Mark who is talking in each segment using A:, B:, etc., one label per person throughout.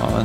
A: Ja,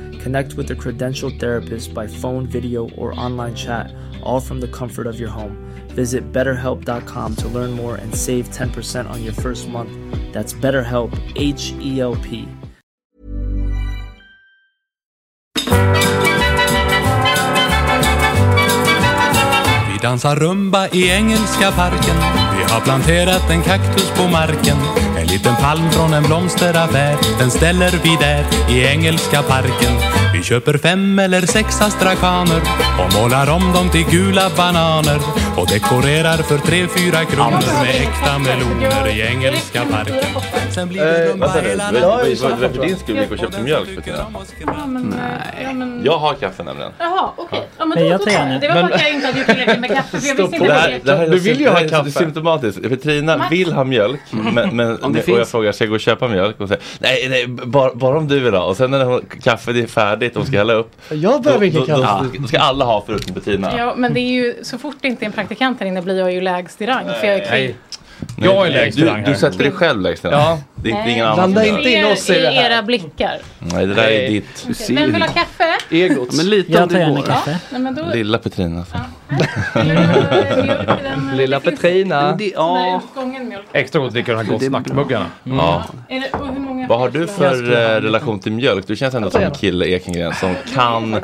B: Connect with a credentialed therapist by phone, video, or online chat, all from the comfort of your home. Visit betterhelp.com to learn more and save 10% on your first month. That's BetterHelp, H E L P.
C: Vi dansar rumba i engelska parken. Vi har planterat en kaktus på marken. En liten palm från en blomsteraffär. Den ställer vi där i engelska parken. Vi köper fem eller sex astrakaner och målar om dem till gula bananer. Och dekorerar för tre, fyra kronor med äkta meloner i engelska parken. Sen blir det
A: Eh,
C: rumba hela natten.
A: för din skull gick och köpte mjölk för tiden?
D: Ja, men, Nej. Ja, men,
A: Jag har kaffe nämligen.
D: Jaha, okej. Ja, men
E: Nej,
D: då,
E: jag
D: då
E: tar
D: tar
E: gärna.
D: jag. Det var
A: Men-
D: bara att jag inte hade gjort tillräckligt med kaffe. För jag visste inte
A: Det
D: vad det
A: här, det här
D: är.
A: är
C: Du vill ju
A: det här
C: ha
A: är
C: kaffe.
A: symptomatiskt. För Trina vill ha mjölk. Men, men om
C: det
A: och
C: finns.
A: jag frågar, ska jag gå och köpa mjölk? Och säger, nej, nej bara, bara om du vill ha. Och sen när hon, kaffet är färdigt färdigt, de ska hälla upp.
F: Jag behöver
A: Då-
F: inte
A: då-
F: kaffe.
A: då- Då ska alla ha förutom Bettina.
D: Ja, men det är ju så fort det inte är en praktikant här inne blir jag ju lägst i rang. För jag är kvitt.
A: Nej.
G: Jag är
A: Nej,
G: lägst i
A: du,
G: rang här.
A: du sätter dig själv lägst i rang.
G: Ja.
A: Det är det är ingen
D: Nej.
A: annan som
F: Blanda
A: gör
F: inte
A: det.
F: in oss i det här.
D: era blickar.
A: Nej, det där är ditt.
D: Okej, Vem vill ha kaffe?
G: Egot.
E: men lite Jag tar gärna
D: Ja,
E: kaffe.
D: nej, men då...
A: Lilla Petrina. Alltså.
D: Lilla
B: Petrina.
D: Ja. Utgången mjölk.
G: Extra gott att dricka de här gott snackmuggarna.
A: Ja.
D: Är det, och hur många
A: Vad har du för eh, relation till mjölk? Du känns ändå som en kille Ekengren som kan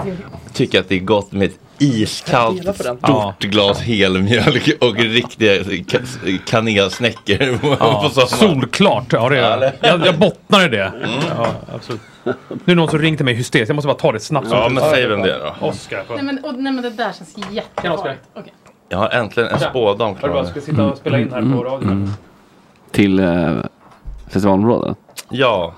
A: tycka att det är gott med ett iskallt stort glas helmjölk och riktiga ka- kanelsnäckor på, på sommaren.
G: Solklart. Ja, det är, jag, jag bottnar i det. Ja, absolut. Nu är någon som ringt till mig hysteriskt. Jag måste bara ta det snabbt.
A: Ja, men säg vem det är då.
G: Oskar.
D: Nej men, och, nej men det där känns jättefarligt. Okej.
A: Jag har äntligen en spådam klar.
G: sitta och spela in här på
H: Mm.
G: radion?
H: Till eh, festivalområdet?
A: Ja,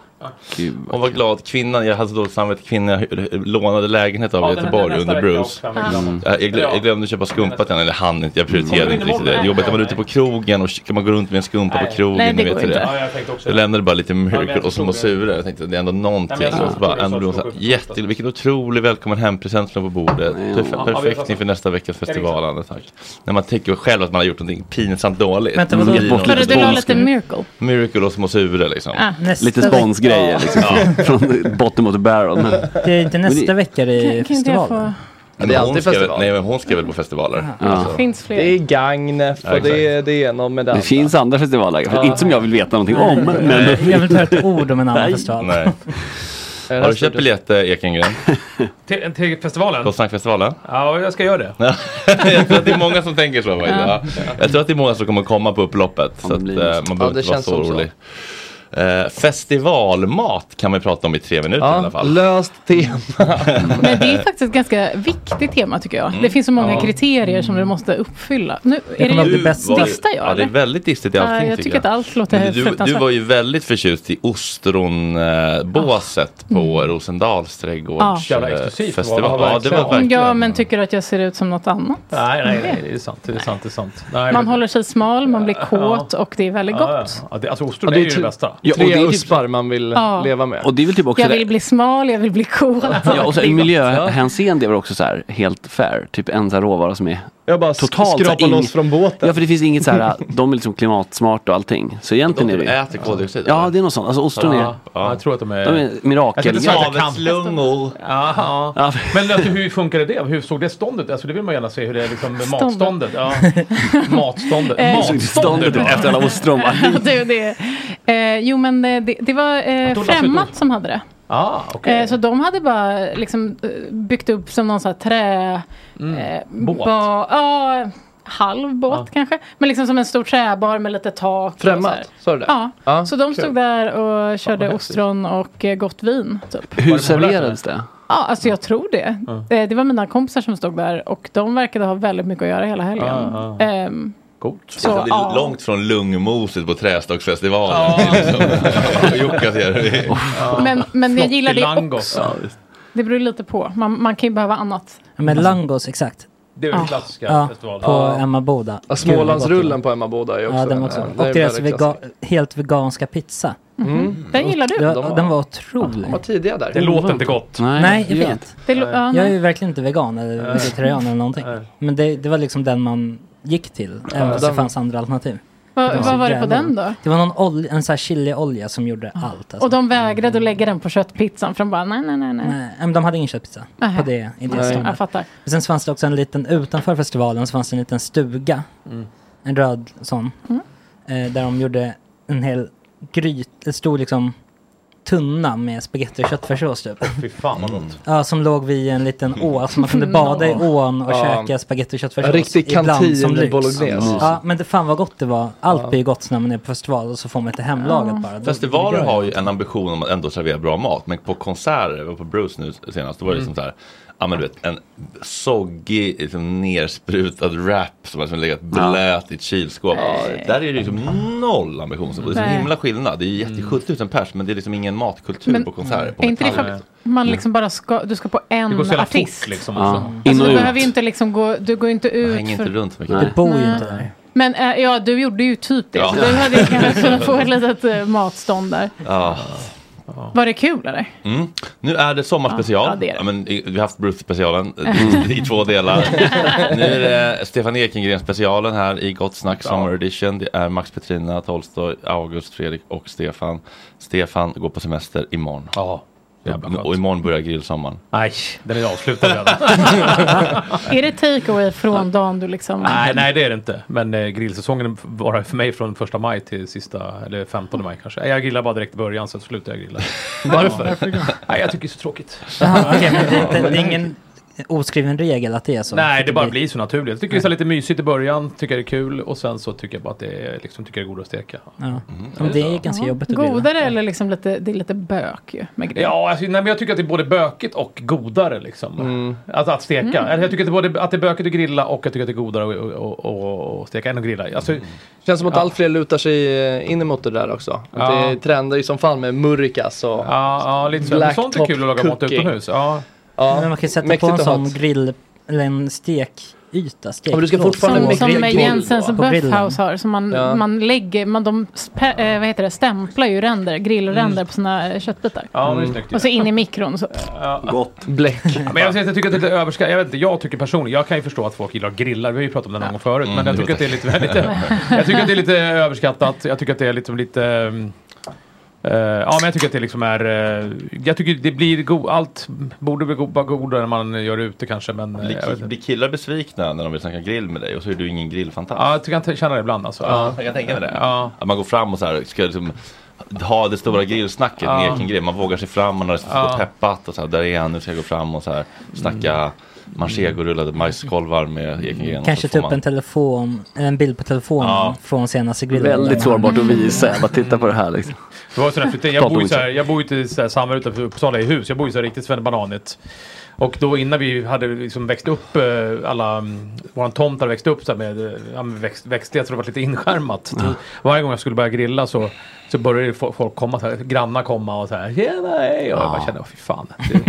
H: Gud,
A: hon var glad. Kvinnan, jag hade så dåligt samvete. Kvinnan jag hy- lånade lägenhet av i Göteborg under Bruce. Jag, jag, glö- jag glömde köpa skumpa till henne, eller han inte, jag prioriterade inte riktigt det. Det är Jobbigt när man är ute på krogen och kan man gå runt med en skumpa på krogen.
D: Nej, det
A: ni vet
D: går
A: hur
D: inte.
A: är.
G: jag tänkte också
A: Jag lämnade bara lite miracle
G: jag
A: och som var
G: förstod
A: sura. Jag tänkte det är ändå någonting.
G: jag
A: så
G: förstod
A: bara,
G: det, så
A: ändå blev
G: jag
A: hon så här,
G: förstod det.
A: jätte, vilken otrolig välkommen hem-present från på bordet. Perf perfekt inför nästa veckas festival. Anna, tack. När man tänker själv att man har gjort någonting pinsamt dåligt.
E: Vänta,
A: Så
E: vadå?
A: blir det
H: Bort
A: någon
D: Hörru,
H: lite
D: du la
H: spons.
D: lite miracle.
A: Miracle och små sura liksom.
E: Nästa
H: Lite
E: vecka-
H: sponsgrejer liksom. Från bottom of the barrel. Men,
E: Det är inte nästa vecka det är
D: Kan, kan inte jag få...
E: festivalen.
A: Men
F: Det är
A: hon
F: alltid
A: ska väl-
F: festival.
A: Nej men hon ska väl på festivaler.
H: ja.
D: Finns
F: Det
D: fler.
F: är Gagnef och
A: Ja, exakt.
F: det, är- det är någon med
H: Det
F: den.
H: finns andra festivaler. Inte som jag vill veta någonting om. Men
E: Jag vill inte höra ett ord om en annan
H: Nej.
E: festival.
A: Nej. Har du köpt biljetter Ekengren?
G: Till, till festivalen?
A: På Snackfestivalen?
G: Ja, jag ska göra det.
A: jag tror att det är många som tänker så. faktiskt. Ja. Jag tror att det är många som kommer komma på upploppet. Så
H: det
A: att, eh,
H: blir
A: man
H: det.
A: behöver
F: Ja, det
A: inte vara
F: känns
A: så
F: som så.
A: orolig. Eh, festivalmat kan vi prata om i tre minuter i alla
F: Ja,
A: fall.
F: löst tema.
D: Men det är faktiskt ett ganska viktigt tema tycker jag. Det finns så många kriterier som du måste uppfylla. Nu är det
E: kommer
D: ju...
E: alltid bäst.
A: var ju-
D: Distar jag,
A: Ja, det är
D: eller?
A: väldigt distigt i
D: Ja,
A: allting
D: jag tycker att allt låter
A: Men du, du
D: fruktansvärt.
A: var ju väldigt förtjust i ostronbåset
D: Ah. Mm.
A: på Rosendals trädgårds
G: Ja. Jävla
A: eh,
G: exklusivt var det,
A: festival.
G: verkligen.
A: Ja, det var verkligen.
D: Ja men tycker du att jag ser ut som något annat?
G: Nej, nej, nej, det är sant. Det är sant. Det är sant. Nej,
D: Man
G: men-
D: håller sig smal, man blir kåt och det är väldigt
G: Ja,
D: gott.
G: ja. ja. det- Alltså ostron är
F: Ja, det är
G: ju det
F: typ-
G: bästa.
H: ja, och,
F: Tre
H: det är typ,
F: uspar man vill
D: Ja.
F: leva med.
H: och det är väl typ också
D: Jag
H: det-
D: vill bli smal, jag vill bli kåt.
H: Ja, och så
D: Det är
H: i
D: gott.
H: miljöhänseende är väl också så här helt fair. Typ en så här råvara som är...
F: Jag bara
H: Totalt så
F: Totalt, skrapar
H: ing-
F: loss från båten.
H: Ja, för det finns inget så här, de är liksom klimatsmarta och allting. Så egentligen är
A: De
H: det ju...
A: äter koldioxid.
H: Ja, det är något sånt. Alltså ostron är...
G: Ja, ja, jag tror att de är...
H: De är
G: Jag ska inte
H: mirakel.
G: säga att jag kan.
A: Havets lungor.
G: Aha.
H: Ja,
G: Men alltså, hur funkade det? Hur såg det ståndet ut? Alltså, det vill man gärna se hur det är liksom, med
D: Ståndet.
G: matståndet. Ja. Matståndet.
H: såg
G: matståndet.
H: ståndet ut
G: ja.
H: efter alla ostron. va?
D: Ja, du, det, eh, jo men det, det, det var eh,
G: tog Lasse ut
D: Främmat
G: ord.
D: som hade det.
G: Ah, okej.
D: Eh, så de hade bara liksom, eh, byggt upp som någon sån här trä... Eh,
G: Båt.
D: ba- ja, halv båt kanske. Men liksom som en stor träbar med lite tak. och så här.
F: Främmat, sa du det?
D: Ja,
F: Ja,
D: så de
F: kul.
D: stod där och körde
G: häftigt.
D: ostron och eh, gott vin. Typ.
H: Hur serverades det?
D: Ja, alltså jag tror det. Eh, Det var mina kompisar som stod där och de verkade ha väldigt mycket att göra hela helgen.
G: Ja,
D: Ehm,
G: Coolt.
D: så,
A: Så Alltså, det är
D: ja.
A: långt från lungmoset på Trästocksfestivalen. Jockas gör liksom- det.
D: Men, men jag gillar det
G: Flottilango.
D: också. Det beror lite på. Man, man kan ju behöva annat.
E: Men langos, exakt.
G: Det är den klassiska
E: Ja,
G: festivalen.
E: på Emma Boda.
F: Ja, Smålandsrullen på Emma Boda är också
E: Ja, den
F: en-
E: också.
F: en-
E: Och
F: en
E: deras
F: väldigt
E: vega
F: klassiker.
E: helt veganska pizza.
D: Den gillar
E: Det
D: du.
E: var,
F: De typ. var-
E: den var otrolig.
F: De var tidiga där.
G: Det låter inte gott.
E: Nej, jag vet.
D: Det, lo- ja,
E: Jag är
D: nej.
E: ju verkligen inte vegan eller vegetarian eller någonting. Men det, det var liksom den man gick till, även fast det
F: den-
E: fanns andra alternativ.
D: vad,
E: Ja.
D: vad var det på
E: Jävlar.
D: den då?
E: Det var någon olja, en sån här chiliolja som gjorde allt. Alltså.
D: Och de vägrade att lägga den på köttpizzan för de bara nej, nej, nej. nej.
E: Nej, men de hade ingen köttpizza
D: Aha.
E: på det, i det
F: Nej.
D: Jag
E: stället.
D: fattar.
E: Men Sen så fanns det också en liten, utanför festivalen så fanns det en liten stuga.
F: Mm.
E: En röd sån. Eh, där de gjorde en hel gryt, en stor liksom tunna med spagetti och köttfärssås typ.
G: Fy fan vad gott.
E: Ja, som låg vid en liten å, så man kunde bada i ån och
F: Ja.
E: käka spagetti och köttfärssås.
F: En riktig
E: ibland som
F: kantin
E: lyx.
F: bolognese.
E: Ja, men det fan vad gott det var. Allt blir ju gott när man är på festival och så får man inte hemlaget bara. Då-
A: Festivaler
E: det-
A: har ju en ambition om att ändå servera bra mat. Men på konserter, jag var på Bruce nu senast, då var det
D: Mm.
A: liksom så här. Ja men du vet, en soggig, liksom nersprutad wrap som har liksom legat blöt i ett kylskåp. Där är det liksom noll ambition. Det är så
D: Nej. Mm.
A: himla skillnad. Det är ju jätte 70 000 pers men det är liksom ingen matkultur
D: Men
A: på konserter. På
D: Är inte det
A: metaller.
D: för man liksom bara ska, du ska på
G: Det
D: en
G: går så jävla
D: artist?
G: fort liksom.
H: Ja.
G: Också.
H: In
D: Alltså,
H: och
D: du behöver ju
H: ut.
D: inte liksom gå, du går ju inte
A: Man
D: ut.
A: hänger
D: för,
A: inte runt så mycket.
E: Det bor ju inte där.
D: Men eh, ja, du gjorde ju typ det.
A: Ja.
D: Så du hade ju kanske kunnat få ett litet eh, matstånd där.
A: Ja.
D: Var det kul eller?
A: Mm. Nu är det sommarspecial.
D: Ja,
A: Ja,
D: ja, det är det.
A: men, i- vi har haft Bruce-specialen eh, i, i två delar. nu är det eh, Stefan Ekengren-specialen här i Gott Snack Summer Edition. Det är Max Petrina, Tolstoj, August, Fredrik och Stefan. Stefan går på semester imorgon. Ja, och imorgon börjar grillsommaren.
G: Nej, den är avslutad redan.
D: Är det takeaway från dagen du liksom...
G: nej, nej, det är det inte. Men eh, grillsäsongen varar för mig från första maj till sista, eller 15 maj kanske. Jag grillar bara direkt i början, sen slutar jag grilla. Varför?
E: Varför då?
G: nej, jag tycker det är så tråkigt.
E: Jaha, okej, men det, det, det är ingen oskriven regel att det är så?
G: Nej, det bara
E: blir
G: blir så naturligt. Jag tycker det är så här lite mysigt i början, tycker det är kul och sen så tycker jag bara att det är, liksom, tycker jag det är godare att steka.
E: Ja. Men det är ganska
D: Ja.
E: jobbigt att grilla.
D: Godare eller liksom lite, det är lite bök ju med grejer.
G: Ja, alltså, nej, men jag tycker att det är både bökigt och godare liksom. Alltså att steka.
D: Mm.
G: Eller Jag tycker att det, är både, att det är bökigt att grilla och jag tycker att det är godare att och, och, och steka än att grilla. Alltså,
F: Känns som att
G: Ja.
F: allt fler lutar sig eh, in emot det där också. Att
G: Ja.
F: Det trendar ju som fan med murkas och
G: Ja, ja lite så. Men sånt är kul att laga mat utomhus. Ja.
F: Ja,
E: Men man kan ju sätta på
F: mäktigt
E: en
F: att
E: sån
F: ha ett-
E: grill, eller en stekyta, steklås.
F: men du ska fortfarande
E: på
D: Som, som
E: grill-
D: Jensens
E: på grillen.
D: Böffhaus har, som man,
E: Ja.
D: man lägger, man, de spä, eh, vad heter det, stämplar ju ränder, grillränder på sina eh, köttbitar.
G: Mm. Ja, men det är snyggt ju.
D: Och så in i mikron. Så.
G: Gott. Bläck. Men jag, jag tycker att det är lite överskattat. Jag vet inte, jag tycker personligen, jag kan ju förstå att folk gillar grillar. Vi har ju pratat om det någon gång förut. Men
A: Mm,
G: jag
A: jo,
G: tycker att det är
A: tack.
G: lite, lite Jag tycker att det är lite överskattat. Jag tycker att det är liksom lite... ehm, eh, ja, men jag tycker att det liksom är... eh, jag tycker det blir go- Allt borde bli go- vara godare när man gör det ute kanske, men... eh, jag vet
A: Blir,
G: inte.
A: blir killar besvikna när de vill snacka grill med dig och så är du ingen grillfantast?
G: Ja, jag tycker jag kan känna det ibland alltså.
A: Ja, jag kan tänka mig det. Att man går fram och så här, ska liksom ha det stora grillsnacket
G: Ja.
A: med egen grill. Man vågar sig fram, man har
G: Ja.
A: ja. peppat och så här, där är han, nu ska jag gå fram och så här snacka manchegorullade majskolvar med Ekengren.
E: Kanske ta upp en telefon, en bild på telefonen från senaste grillen.
H: Väldigt sårbart att visa. Bara titta på det här liksom.
G: Det var sådär, för det-
H: Prata
G: jag bor
H: om
G: ju
H: det.
G: såhär, jag bor ju inte såhär, samma utanför Uppsala i hus. Jag bor ju såhär riktigt svennebananigt. Och då innan vi hade liksom växt upp, eh, alla, mm, våran tomt hade växt upp såhär med, eh, ja, med växt, växtlighet så det var lite inskärmat. Så Varje gång jag skulle börja grilla så, så började ju fo- folk komma, såhär, grannar komma och såhär tjena hej. Och jag bara
A: Ja.
G: kände, "Åh, fy fan. Det,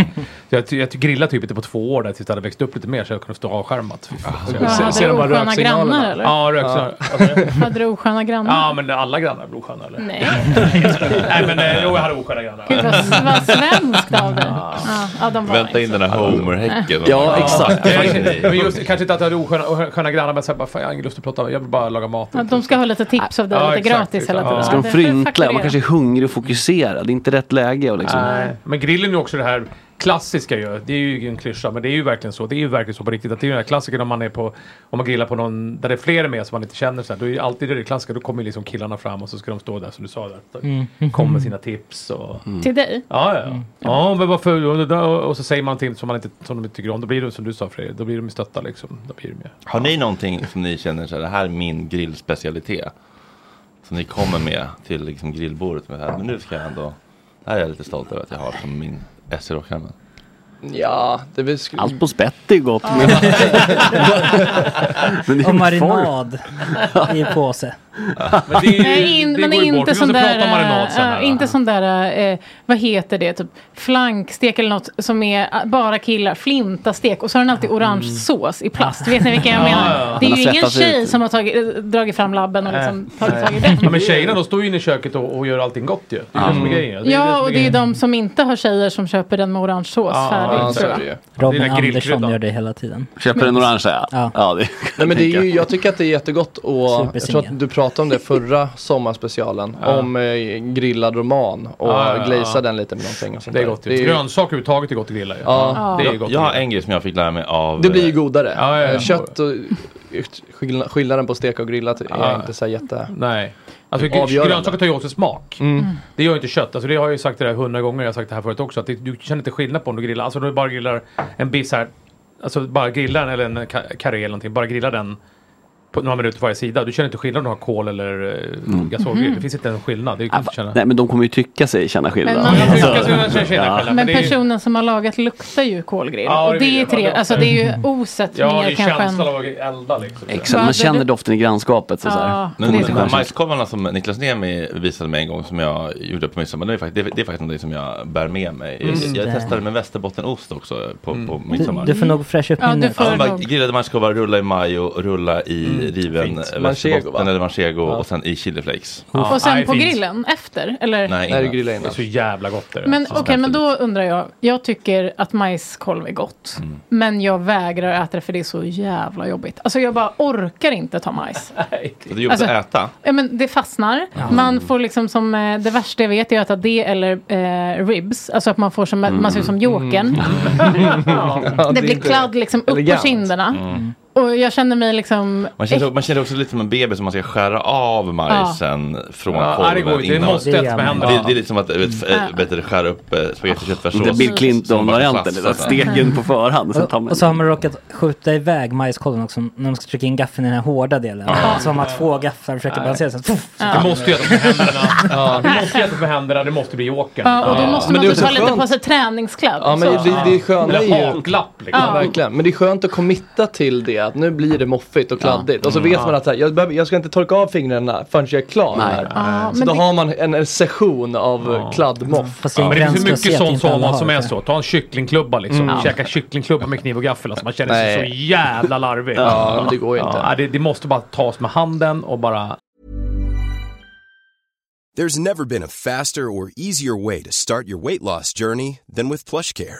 G: så jag, ty- jag grillade typ inte på två år där tills det hade växt upp lite mer så jag kunde stå avskärmat. Fy fan. Så jag-
D: Ja,
G: ser-
D: hade
G: ser
D: du
G: de här
D: osköna
G: röksignalerna.
D: grannar, eller?
G: Ja, röksignaler.
D: Hade du osköna grannar?
G: Ja, men alla grannar är osköna eller?
D: Nej.
G: Nej men eh, jo, jag hade osköna grannar.
D: Gud vad, vad svenskt av dig. Ja, ja, de var
A: Vänta in den här Homer-häcken.
H: Ja, exakt.
G: Ja, kanske- men just, kanske inte att jag hade osköna osköna grannar men såhär, bara, fan, jag har ingen lust att prata, jag vill bara laga mat.
D: Ja, de ska ha lite tips av dig,
G: Ja,
D: lite
G: exakt,
D: gratis
G: exakt.
D: hela tiden.
H: Ska de
D: Ja, det-
H: fryntla? Man
D: fakturera.
H: kanske är hungrig och fokuserad. Det är inte rätt läge. Och liksom.
G: Nej, men grillen är ju också det här klassiska ju. Det är ju en klyscha, men det är ju verkligen så. Det är ju verkligen så på riktigt. Att det är ju den här klassikern om man är på, om man grillar på någon där det är fler med som man inte känner så här. Då är ju alltid det klassiska. Då kommer ju liksom killarna fram och så ska de stå där som du sa där.
F: Mm.
G: Kommer med sina tips och...
D: Till dig? Mm.
G: Ja, ja, ja. ja men varför? Och, då- och så säger man till som man inte, som de inte tycker om. Då blir det som du sa Fredrik, då blir de ju stötta liksom. Då blir de ju...
A: Har ni någonting som ni känner så här, det här är min grillspecialitet? Som ni kommer med till liksom grillbordet med det här, men nu ska jag ändå, det här är jag lite stolt över att jag har som min SC Rockhammer.
F: Ja, det blir sk-
H: Allt på spett är ju gott. Men... Men det är
E: Och
H: ju
E: marinad i påse.
G: Men det
D: Nej, in, men inte sån där, äh, inte sån där, eh, vad heter det, typ flankstek eller något som är eh, bara killar, flintastek och så har den
G: Mm.
D: alltid orange sås i plast. Vet ni vilken jag
G: Ja,
D: menar?
G: ja.
D: Det är
G: Den
D: ju
G: har
D: ingen
G: svettats
D: tjej
G: ut.
D: som har tagit, eh, dragit fram labben och liksom tagit tag i
G: Ja,
D: den.
G: men tjejerna de står ju inne i köket och, och gör allting gott ju. Det är det som är grejen. ju
D: Ja,
G: som
D: och det är ju
G: grejen.
D: de som inte har tjejer som köper den med orange sås
G: Ja,
D: färdig.
G: ja,
D: tror jag.
G: så är det ju.
E: Robin
G: Det är den här
E: Andersson
G: grillkryddan.
E: gör det hela tiden.
H: Köper en orange ja.
E: Ja.
H: ja det
F: Nej, men det är ju, jag tycker att det är jättegott och jag tror
E: Supersingel.
F: att du pratade om det förra sommarspecialen.
G: Ja.
F: Om eh, grillad roman och
G: Ja, ja, ja.
F: glazea den lite med någonting. Och sånt
G: Det är
F: där.
G: gott. ju. Grönsaker överhuvudtaget är gott att grilla ju.
F: Ja.
G: Det är
A: Jag,
G: gott.
A: jag har en grej som jag fick lära mig av
F: det blir ju godare.
G: Ja, ja, ja.
F: Eh, Kött och skill- skillnaden på steka och grillat är
G: Ja.
F: inte så här jätte...
G: Nej. Alltså, gr-
F: Avgörande.
G: grönsaker tar ju också smak. Det gör ju inte kött. Alltså, det har jag ju sagt det där hundra gånger. Jag har sagt det här förut också. Att det, du känner inte skillnad på om du grillar. Alltså om du bara grillar en biff så här. Alltså bara grillar den eller en ka- karré eller någonting. Bara grilla den på några minuter på varje sida. Du känner inte skillnad om du har kol eller mm. gasolgrill. Det finns inte en skillnad. Det kan du inte känna.
H: Nej men de kommer ju tycka sig känna skillnad.
D: Men man- Ja, de tycker
G: sig känna skillnad.
H: Ja.
G: Men
D: Men
G: det är-
D: personen som har lagat luktar ju kolgrill.
G: Ja,
D: och
G: det
D: det
G: vet
D: är,
G: jag.
D: tre, alltså, det är ju osett
G: Ja, det
D: mer
G: är
D: kanske än...
G: känslan av att elda liksom.
H: Exakt, man känner doften i grannskapet. Så
D: Ja,
H: så här.
D: det
A: Men
D: är
A: de
D: så
A: här
D: skönt.
A: majskolvarna som Niklas Niemi visade mig en gång som jag gjorde på midsommar, det är faktiskt, det är, det är faktiskt någonting som jag bär med mig. Jag-
E: Just
A: Jag,
E: det.
A: jag testade med västerbottenost också på, på
E: Du,
A: midsommar.
E: du får nog fräscha upp minnet.
A: Ja, man grillade majskolvar, rulla i majo, rulla i riven
F: Fint.
A: eh,
F: Manchego,
A: västerbotten
F: va?
A: eller manchego
F: Ja.
A: och sen i chiliflakes.
D: och sen på grillen efter? Eller?
A: innan.
G: Det är så jävla gott är det.
D: Men okej, men då undrar jag. Jag tycker att majskolv är gott.
G: Mm.
D: Men jag vägrar äta det för det är så jävla jobbigt. Alltså jag bara orkar inte ta majs.
A: Så det är jobbigt
D: Alltså-
A: att äta.
D: Ja, men det fastnar. Man får liksom som, eh, det värsta jag vet är att äta det eller eh, ribs. Alltså att man får som, man ser ut som
H: Mm.
D: jokern.
A: Ja,
D: det
A: det är
D: blir
A: inte
D: kladd liksom upp
A: elegant.
D: på kinderna.
A: Mm.
D: Och jag känner mig liksom...
A: Man känner, man känner också lite som en bebis som man ska skära av majsen från
G: Ja,
A: kolven.
G: det går inte. Det
A: innan.
G: måste äta med händerna.
A: Det, det är lite som att vet,
E: Ja.
A: äh, vet, du, skära upp äh, spagetti och köttfärssås.
H: Det är Bill Clinton-varianten,
A: Som alltså.
H: det
A: bara
H: där
A: klassas.
H: steken på förhand. Sen tar
E: Och,
H: man
E: och så har man råkat skjuta iväg majskolven också när de ska trycka in gaffeln i den här hårda delen.
G: Ja.
E: Som att två gafflar försöker
G: Nej.
E: balansera sig. Puff, så
G: Du måste ju äta med händerna. Du måste ju äta med händerna, det måste bli åkern.
D: Ja, och då måste man också ta lite på sig träningskläder.
F: Ja men
D: så.
F: det, det är skönt.
G: Eller
F: det är ju-
G: haklapp,
D: liksom.
F: Ja, verkligen. Men det är skönt att committa till det att nu blir det moffigt och kladdigt. Och så
G: Mm.
F: vet
G: Ja.
F: man att så här, jag, behöver, jag ska inte torka av fingrarna förrän jag är klar
G: Nej.
F: här.
G: Ja,
F: så
G: men
F: då
G: det-
F: har man en, en session av ja. kladdmoff.
G: Ja, men det finns hur mycket sånt som, som är så. Ta en kycklingklubba liksom.
F: Mm.
G: Käka kycklingklubba med kniv och gaffel. Alltså, man känner sig
F: Nej.
G: så jävla larvig.
F: Ja, men det går ju inte.
G: Ja, det, det måste bara tas med handen och bara...
I: There's never been a faster or easier way to start your weight loss journey than with PlushCare.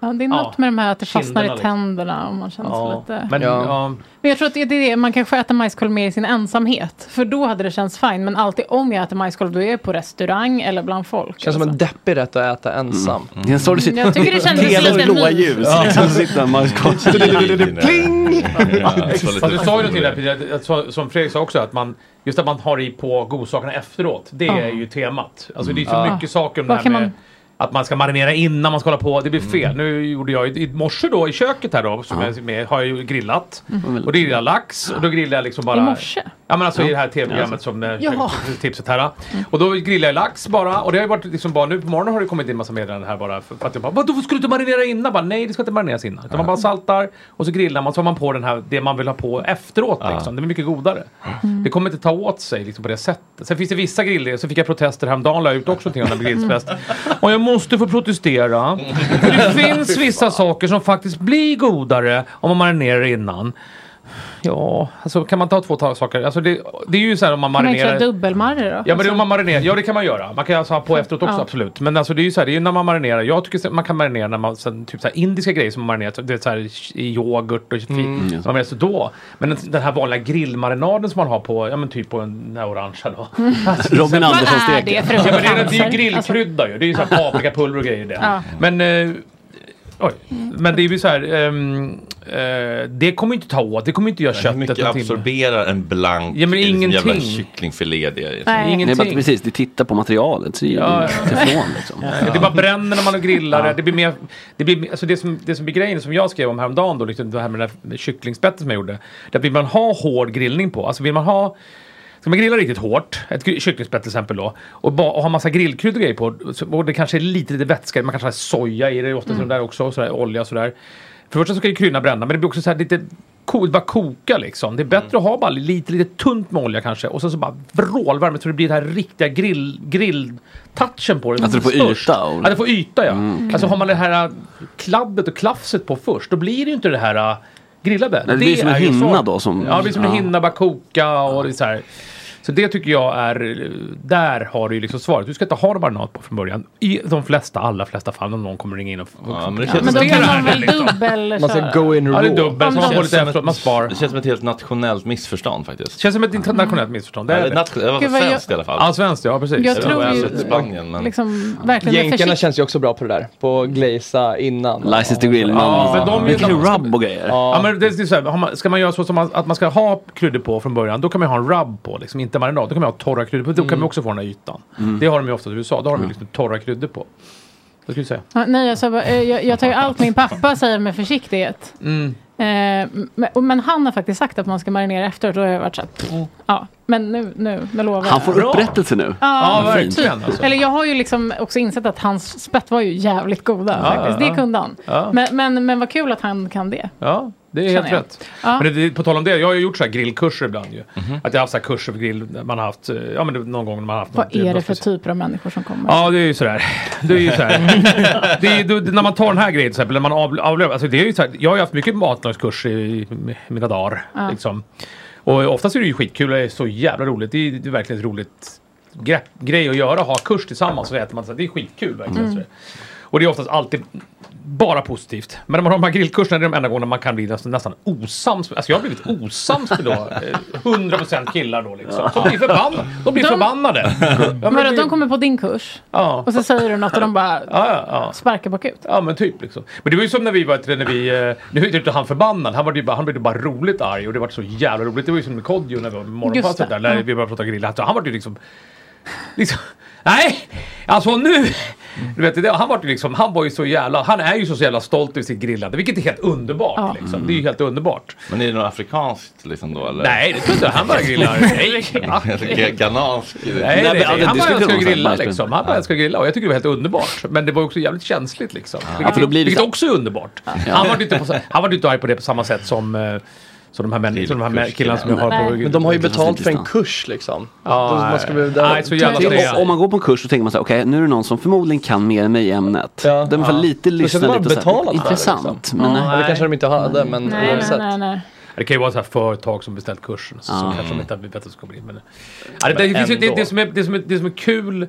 D: Ja, det är något med de här att det fastnar
G: Kinderna
D: i
G: liksom.
D: tänderna. Och man känner sig
G: Ja,
D: lite...
G: men, ja. Ja.
D: Men jag tror att det är det, man kanske äter majskolv mer i sin ensamhet. För då hade det känts fint. Men alltid om jag äter majskolv, då är jag på restaurang eller bland folk. alltså. Mm.
F: Känns som en deppig rätt att äta ensam.
H: Mm. Det är en sorglig
D: Jag tycker det kändes Tvn lite blåa mys. ljus, liksom,
H: sitter man
G: Pling!
H: lite-
G: Fast du sa ju någonting där Peter, att så- som Fredrik sa också, att man, just att man har i på godsakerna efteråt. Det
D: Ja.
G: är ju temat. Alltså det är så
D: Ja.
G: mycket saker om det
D: Vad
G: här
D: kan
G: med
D: man-
G: att man ska marinera innan man ska hålla på. Det
D: Mm.
G: blir fel. Nu gjorde jag i- i morse då i köket här då, som jag är med, har jag ju grillat.
D: Mhm.
G: Och då grillade jag lax och då grillade jag liksom bara...
D: I morse?
G: Ja men alltså i det här
D: Ja.
G: tv-programmet som eh,
D: Jaha. Mm.
G: tipset här. Och då grillade jag lax bara. Och det har ju varit liksom bara nu på morgonen har det kommit in massa meddelanden här bara. För för att jag bara, vadå skulle du inte marinera innan? Bara, Nej det ska inte marineras innan. Utan man bara saltar och så grillar man så har man på den här, det man vill ha på efteråt liksom. Det blir mycket godare.
D: Mm.
G: Det kommer inte ta åt sig liksom på det sättet. Sen finns det vissa grillidéer, så fick jag protester häromdagen la jag ut också någonting om den här grillfest. Och jag måste få protestera. För det finns vissa saker som faktiskt blir godare om man marinerar innan. Ja, alltså kan man ta två ta- saker? Alltså det, det är ju så här om man
D: Kan man inte
G: marinerar...
D: köra dubbelmarrer då?
G: Ja, men det, om man marinerar, ja det kan man göra. Man kan alltså ha på efteråt också
D: Ja.
G: absolut. Men alltså, det är ju så här, det är ju när man marinerar. Jag tycker man kan marinera när man, sen, typ så här, indiska grejer som man marinerar, så- det är så här, i yoghurt och
F: Mm.
G: mm. man så då. Men den- den här vanliga grillmarinaden som man har på, ja men typ på en- den här orangea då.
H: Robin
G: Vad
H: Andersson
G: är
H: steker.
G: det för Ja, men det, är, det är ju grillkrydda ju. Det är ju så här paprikapulver och grejer i det.
H: Ja.
G: Men, eh, oj. men det är ju så här, ehm, eh, det kommer ju inte ta åt, det kommer ju inte göra
A: Men Hur
G: köttet
A: mycket
G: någonting.
A: absorberar en blank
G: Ja, men
A: liksom, jävla
G: ingenting.
A: kycklingfilé? Det är,
G: Nej. Ingenting.
H: Nej, men precis, du tittar på materialet så är
G: Ja,
H: ja,
G: ja.
H: teflon liksom.
G: Ja. Det bara bränner när man grillar det. Det blir mer... Det, blir, alltså det, som, det som blir grejen som jag skrev om häromdagen då, liksom det här med den här kycklingspetten som jag gjorde. Där vill man ha hård grillning på. Alltså vill man ha... Ska man grilla riktigt hårt, ett gry- kycklingspett till exempel då, och, ba, och ha massa grillkryddor och grejer på, så- och det kanske är lite, lite vätska, man kanske har soja i det, ofta mm. där också, och sådär, olja och sådär. För det första så ska ju kryddorna bränna, men det blir också så här lite ko- det bara koka liksom. Det är bättre
H: Mm.
G: att ha bara lite, lite tunt med olja kanske och sen så bara vrålvarmt så det blir den här riktiga grill, grill-touchen på det.
H: Att det får
G: Störst.
H: yta och-
G: Ja, det får yta ja.
H: Mm.
G: Alltså har man det här äh, kladdet och klafset på först, då blir det ju inte det här äh, grillade.
H: Nej, det blir som en
G: är ju
H: hinna
G: så-
H: då som-
G: Ja, det blir som en
H: Ja.
G: hinna, bara koka och det är så här. Så det tycker jag är, eh, där har du ju liksom svaret. Du ska inte ha någon marinad på från början. I de flesta, allra flesta fall om någon kommer ringa in och... Ja,
A: men det
D: Men då kan man väl dubbelköra?
G: Ja, det är dubbel, så man får lite efteråt, man spar.
A: Det känns som ett helt nationellt missförstånd faktiskt.
G: Känns som Alltså, ett internationellt missförstånd. Det är
A: Eller
G: det.
A: nat- det var
D: Gud, vad
A: svenskt i
D: jag-
A: alla fall.
G: Ja, svenskt ja, precis.
D: Jag tror ju-
A: Spanien, men...
D: Liksom, verkligen är
F: Jänkarna
D: försiktig.
F: känns ju också bra på det där. På att glazea innan.
H: License to grill.
G: Ja, men de är
H: Mycket
G: ju-
H: rub och grejer.
G: Ja, men det, det är så här, har man, ska man göra så som man, att man ska ha kryddor på från början, då kan man ju ha en rub på, liksom, inte marinad. Då kan man ha torra kryddor på, då kan man också få den här ytan.
H: Mm.
G: Det har de ju ofta i USA, då har de ju liksom torra kryddor på. Vad skulle du säga?
D: Ja, nej, jag, sa bara, eh, jag, jag tar ju allt min pappa säger med försiktighet.
G: Mm.
D: Eh, men, och- men han har faktiskt sagt att man ska marinera efteråt och då har jag varit så här, pff,
G: Mm.
D: ja, men nu, nu, nu lovar jag.
H: Han får upprättelse nu.
D: Ja,
H: Vad fint.
D: typ.
G: alltså.
D: Eller jag har ju liksom också insett att hans spett var ju jävligt goda
G: Ja,
D: faktiskt.
G: ja,
D: Det
G: ja.
D: kunde han.
G: Ja.
D: Men, men, men vad kul att han kan det.
G: Ja, det är
D: Känner
G: helt
D: jag.
G: rätt.
D: Ja.
G: Men det, det, på tal om det, jag har ju gjort så här grillkurser ibland ju. Att jag har haft så här kurser för grill, där man har haft, eh, ja men det, någon gång när man har haft något-
D: Vad är det
G: något
D: för typer av människor som kommer?
G: Ja, det är ju sådär. Det är ju sådär. det är, ju- det, när man tar den här grejen till exempel, när man av- avlövar. Alltså det är ju såhär, jag har ju haft mycket matlagskurs i, i mina dagar.
D: Ja.
G: Liksom. Och oftast är det ju skitkul och det är så jävla roligt. Det är, det är verkligen ett roligt grepp, grej att göra, ha kurs tillsammans och äter man. Så det är skitkul verkligen.
D: Mm.
G: sådär. Och det är oftast alltid bara positivt. Men när man har de här grillkurserna, det är de enda gångerna man kan bli nästan, nästan osams. Alltså jag har blivit osams med då eh, 100% killar då liksom. De blir förbannade. De blir
D: De-
G: förbannade. Ja, men
D: men
G: det-
D: de kommer på din kurs
G: Ja.
D: och så säger du något och de bara
G: Ja, ja, ja.
D: sparkar bakut.
G: Ja men typ liksom. Men det var ju som när vi var, när vi, eh, nu är ju inte han förbannad, han, var ju bara, han blev ju bara roligt arg och det var så jävla roligt. Det var ju som med Kodjo när vi var med morgonpasset
D: Just det,
G: typ där, när
D: ja.
G: vi började prata grill. Alltså, han var ju liksom, liksom, nej, alltså nu, du vet, det, han var ju liksom, han var ju så jävla, han är ju så jävla stolt över sitt grillande, vilket är helt underbart liksom. Det är ju helt underbart.
A: Men är det något afrikanskt liksom då eller?
G: Nej, det tror inte jag. Han bara grillar. Nej.
A: Ghanansk.
G: Nej, nej, nej, han bara älskar att grilla
A: Ja.
G: liksom. Han bara älskar att grilla och jag tycker det var helt underbart. Men det var också jävligt känsligt liksom. Vilket,
H: för då blir det
G: vilket
H: så-
G: också är underbart. Han var ju inte, på, så- han var ju inte arg på det på samma sätt som, eh, som de här, män, som de här män- killarna som jag har på...
F: Men de har ju betalt för en kurs liksom.
G: Ja,
F: Då man ska behöva-
G: nej, så jävla
H: Men
G: trevligt.
H: om- Om man går på en kurs så tänker man så här, okej nu är det någon som förmodligen kan mer än mig i ämnet. De får
F: Ja.
H: lite
F: Då ska
H: lyssna
F: de
H: lite
F: bara
H: och så här,
F: betala för det,
H: intressant.
F: liksom.
H: Men
F: Ja,
H: nej.
F: Eller kanske de inte hade, men
D: Nej, nej,
F: oavsett.
D: nej, nej.
G: Det kan ju vara så här företag som beställt kursen så,
H: Ja.
G: som kanske de inte vet att det ska bli. Men, ja, det,
H: Men
G: det, finns ju- det,
H: ändå.
G: det, som är, det, som är, det som är kul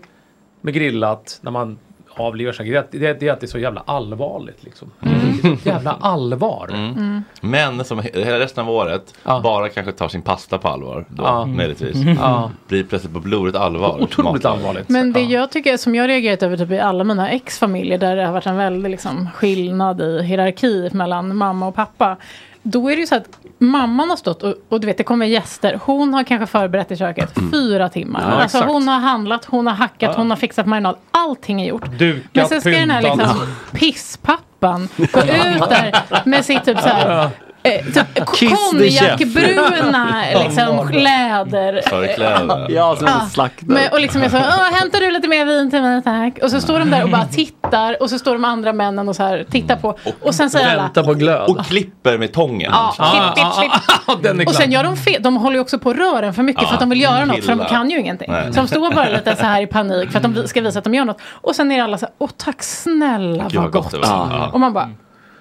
G: med grillat när man avlivar sig, det, är att- det, är- det är att det är så jävla allvarligt liksom. Det är så jävla allvar.
A: Mm. Män som he- hela resten av året bara kanske tar sin pasta på allvar då,
G: Ja.
A: möjligtvis.
G: Mm. Ja.
A: Blir plötsligt på blodigt allvar. Otroligt
G: allvarligt.
D: Men det jag tycker, som jag har reagerat över typ i alla mina exfamiljer där det har varit en väldig liksom, skillnad i hierarki mellan mamma och pappa. Då är det ju så att mamman har stått och, och du vet det kommer gäster. Hon har kanske förberett i köket fyra timmar.
G: Ja,
D: alltså
G: exakt.
D: hon har handlat, hon har hackat, hon har fixat marinad. Allting är gjort.
G: Dukat,
D: Men sen ska den här
G: pyntat.
D: liksom, pisspappan gå ut där med sitt typ så här. Eh, typ
H: Kiss the chef.
D: konjakbruna liksom, kläder.
A: Förkläder.
H: Ja, så
D: Ja.
H: slaktar.
D: Men, och liksom jag sa, "Åh, hämtar du lite mer vin till mig tack? Och så står de där och bara tittar och så står de andra männen och så här tittar på. Och sen säger alla,
A: på glöd. Och klipper med tången.
D: ja, klipp, klipp, klipp.
G: den är
D: Och sen
G: klar.
D: gör de fel, de håller ju också på rören för mycket
A: Ja,
D: för att de vill göra något för de
A: killar.
D: kan ju ingenting.
A: Nej.
D: Så de står bara lite så här i panik för att de vi- ska visa att de gör något. Och sen är alla så här, åh tack snälla
G: Gud,
D: vad
G: vad
D: gott.
G: gott det var. Ja.
D: Och man bara,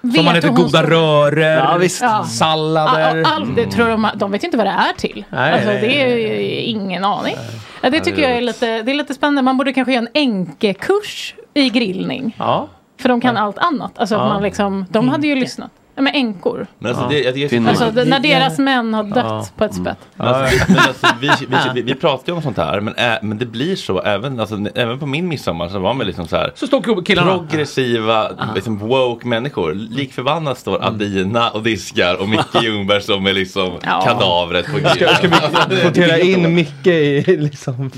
G: Som man
D: vet
G: äter
D: du hon
G: goda
D: står-
G: rörer,
D: Ja, visst. Ja.
G: sallader.
D: All, all, det tror de, de vet ju inte vad det är till.
G: Nej,
D: alltså,
G: nej,
D: det är
G: nej,
D: ju ingen aning. Ja, det
G: Nej,
D: tycker
G: det är
D: jag är lite, det är lite spännande. Man borde kanske göra en enkekurs i grillning.
G: Ja.
D: För de kan allt annat. Alltså,
A: Ja.
D: man liksom, de hade ju lyssnat. Ja, men änkor.
A: Men alltså, det, jag tycker det
G: Mm.
A: är så
D: Alltså,
A: konstigt.
D: det, när deras män har dött
A: Ja.
D: på ett spett.
A: Men alltså, vi- men alltså, vi, vi, vi, vi pratar ju om sånt här, men, ä, men det blir så. Även, alltså, n- även på min midsommar så var man liksom så här.
G: Så står killarna.
A: Progressiva, liksom woke människor. Likförbannat står Adina och diskar och Micke Ljungberg som är liksom kadavret på
F: Ska,
A: grillen. Alltså,
F: ska vi kvotera in Micke i liksom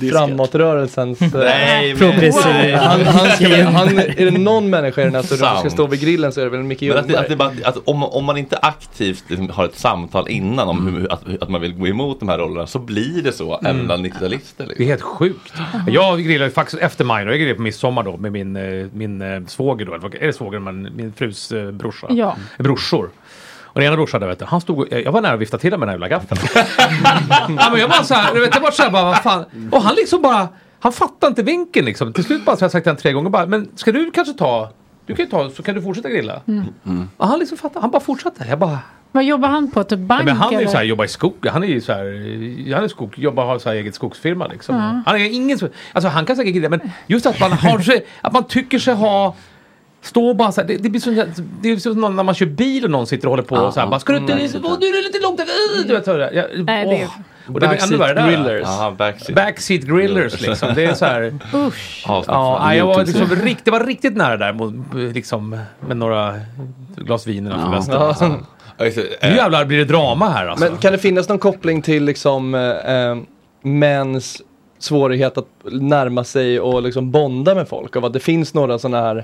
F: framåtrörelsens... eh,
A: Nej, men- Progressiva.
F: Han, han, ska, väl- han, är det någon människa i den här studion som ska
A: Sant.
F: stå vid grillen så är det väl Micke
A: Men att, det, att, det
F: Ljungberg.
A: bara, att om, om man inte aktivt liksom har ett samtal innan om hur, att, att man vill gå emot de här rollerna så blir det så
G: Mm.
A: även bland 90-talister. Liksom.
G: Det är helt sjukt. Jag grillar ju faktiskt efter maj, då. jag grillar på midsommar då med min, eh, min eh, svåger då, eller vad- är det svåger, men min frus eh, brorsa?
D: Ja.
G: Eh, Brorsor. Och den ena brorsan där vet du, han stod, eh, jag var nära att vifta till honom med den här jävla gaffeln. ja, men jag var så här, du vet, jag var så här bara, vad fan. Och han liksom bara, han fattade inte vinkeln liksom. Till slut bara, så har jag sagt till honom tre gånger bara, men ska du kanske ta, du kan ju ta, så kan du fortsätta grilla.
D: Mm.
G: Och han liksom fattade, han bara fortsatte. Jag bara,
D: Vad jobbar han på? Typ bank?
G: Ja, men han är ju
D: eller?
G: så här, jobbar i skog, han är ju så här, han är skog, jobbar, har så här eget skogsfirma liksom.
D: Ja.
G: Han är ingen, som- alltså han kan säkert grilla, men just att man har, sig- att man tycker sig ha Stå bara så här, det, det blir som, det är som någon- när man kör bil och någon sitter och håller på och så här, bara, ska du inte,
F: Mm.
G: åh, nu är det lite långt, äh, du vet så här, jag,
D: Mm. Nej, det är-
G: åh. Och det blir ännu värre där.
F: Grillers.
A: Aha, backseat.
G: Backseat grillers liksom, det är så här.
D: Usch.
A: Ja,
G: Ja,
A: fan,
G: nej, jag var,
A: YouTube.
G: liksom, rikt, det var riktigt nära där mot, liksom, med några glas vin innanför västen. Alltså. Nu jävlar blir det drama här alltså.
F: Men kan det finnas någon koppling till liksom eh, eh, mäns svårighet att närma sig och liksom bonda med folk? Av att det finns några sådana här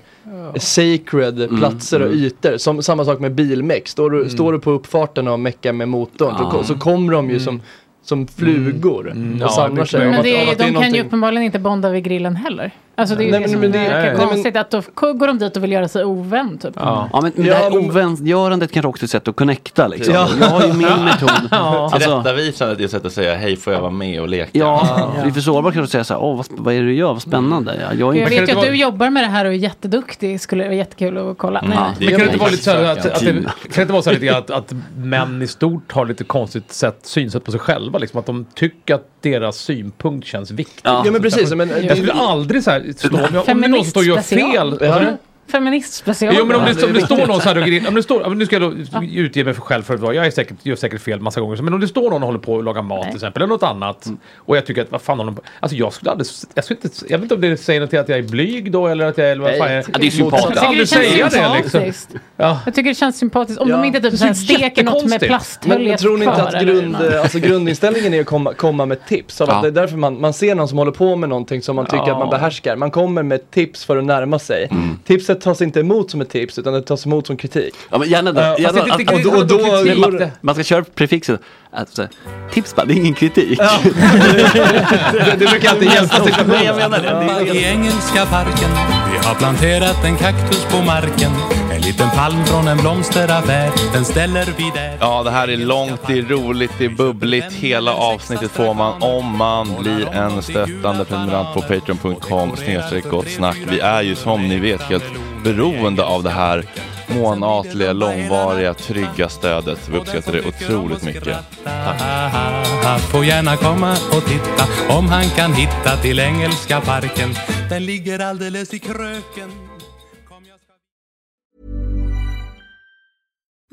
F: sacred platser och
H: mm.
F: ytor. Som, samma sak med bilmeck. Står,
G: Mm.
F: du- står du på uppfarten och meckar med motorn så,
H: Ja.
F: ko- så kommer de
G: Mm.
F: ju som, som flugor och
H: Ja,
F: samlar sig. Av
D: Men
F: att-
D: det
F: av
D: är,
F: att
D: de kan ju
F: någonting-
D: uppenbarligen inte bonda vid grillen heller. Alltså det är ju
F: Nej,
D: det
F: men-
D: som
F: men det-
D: verkar
F: nej, nej.
D: konstigt. Att då k- går de dit och vill göra sig ovän typ.
H: Ja. men, men det här ovänstgörandet kanske också är ett sätt att connecta liksom.
A: Ja.
H: Jag har ju min metod. Alltså,
A: Tillrättavisandet Eh, är ett sätt att säga hej, får jag vara med och leka? Mm.
H: ja, vi är för sårbara kanske att säga så här, åh vad, vad är det du gör, vad spännande. Ja, jag är
D: Jag
H: inte...
D: vet ju att du jobbar med det här och är jätteduktig. Skulle det vara jättekul att kolla.
H: Mm.
D: Nej.
G: Men kan det inte vara lite så här att, att, det,
H: Team.
G: kan det inte vara så här lite grann att, att män i stort har lite konstigt sätt, synsätt på sig själva? Liksom, att de tycker att deras synpunkt känns viktig.
F: Ja. Ja, men precis, men-
G: jag skulle aldrig så här slå mig. Om det är någon som står och gör fel. Alltså-
D: Ja. Feminist special.
G: Jo men om det, om det står någon så här och grill- om det står, ja, men nu ska jag då utge mig för själv för att vara- jag är säkert, gör säkert fel massa gånger, men om det står någon och håller på och lagar mat till exempel, eller något annat, och jag tycker att vad fan håller de på, alltså jag skulle aldrig, jag skulle inte, jag vet inte om det säger något till att jag är blyg då eller att jag eller vad
H: Nej,
G: fan jag
H: jag tycker Ja, det är det är sympatiskt.
G: Jag skulle aldrig
D: Jag tycker
G: säga
D: det
G: det
D: känns
G: liksom.
D: sympatiskt.
G: Ja.
D: Jag tycker det känns sympatiskt. Om
F: Ja.
D: de inte typ
F: Det
D: så här
F: känns
D: steker något med
F: jättekonstigt.
D: plasthöljet
F: Men, men tror ni inte
D: kvar,
F: att
D: eller
F: grund,
D: något?
F: alltså, grundinställningen är att komma, komma med tips? Av att det är därför man, man ser någon som håller på med någonting som man tycker
G: Ja.
F: att man behärskar. Man kommer med ett tips för att närma sig. Tipset tas inte emot som ett tips utan det tas emot som kritik.
H: Mm. Ja, men gärna
F: Eh,
H: det.
F: fast
H: Gärna,
F: det- det-
H: att-
F: det- det- och då-
H: Men
F: går
H: man,
F: det-
H: man ska köra prefixet. Alltså, tips bara, det är ingen kritik.
F: det, det brukar alltid hjälpa situationen.
H: Nej, jag menar det.
C: I engelska parken Vi har planterat en kaktus på marken En liten palm från en blomsteraffär Den ställer vi där
A: Ja, det här är långt, det är roligt, det är bubbligt. Hela avsnittet får man om man blir en stöttande prenumerant på patreon.com snedstreck gott snack. Vi är ju som ni vet helt beroende av det här månatliga, långvariga, trygga stödet. Vi uppskattar det otroligt mycket.
C: Han får gärna komma och titta Om han kan hitta till engelska parken Den ligger alldeles i kröken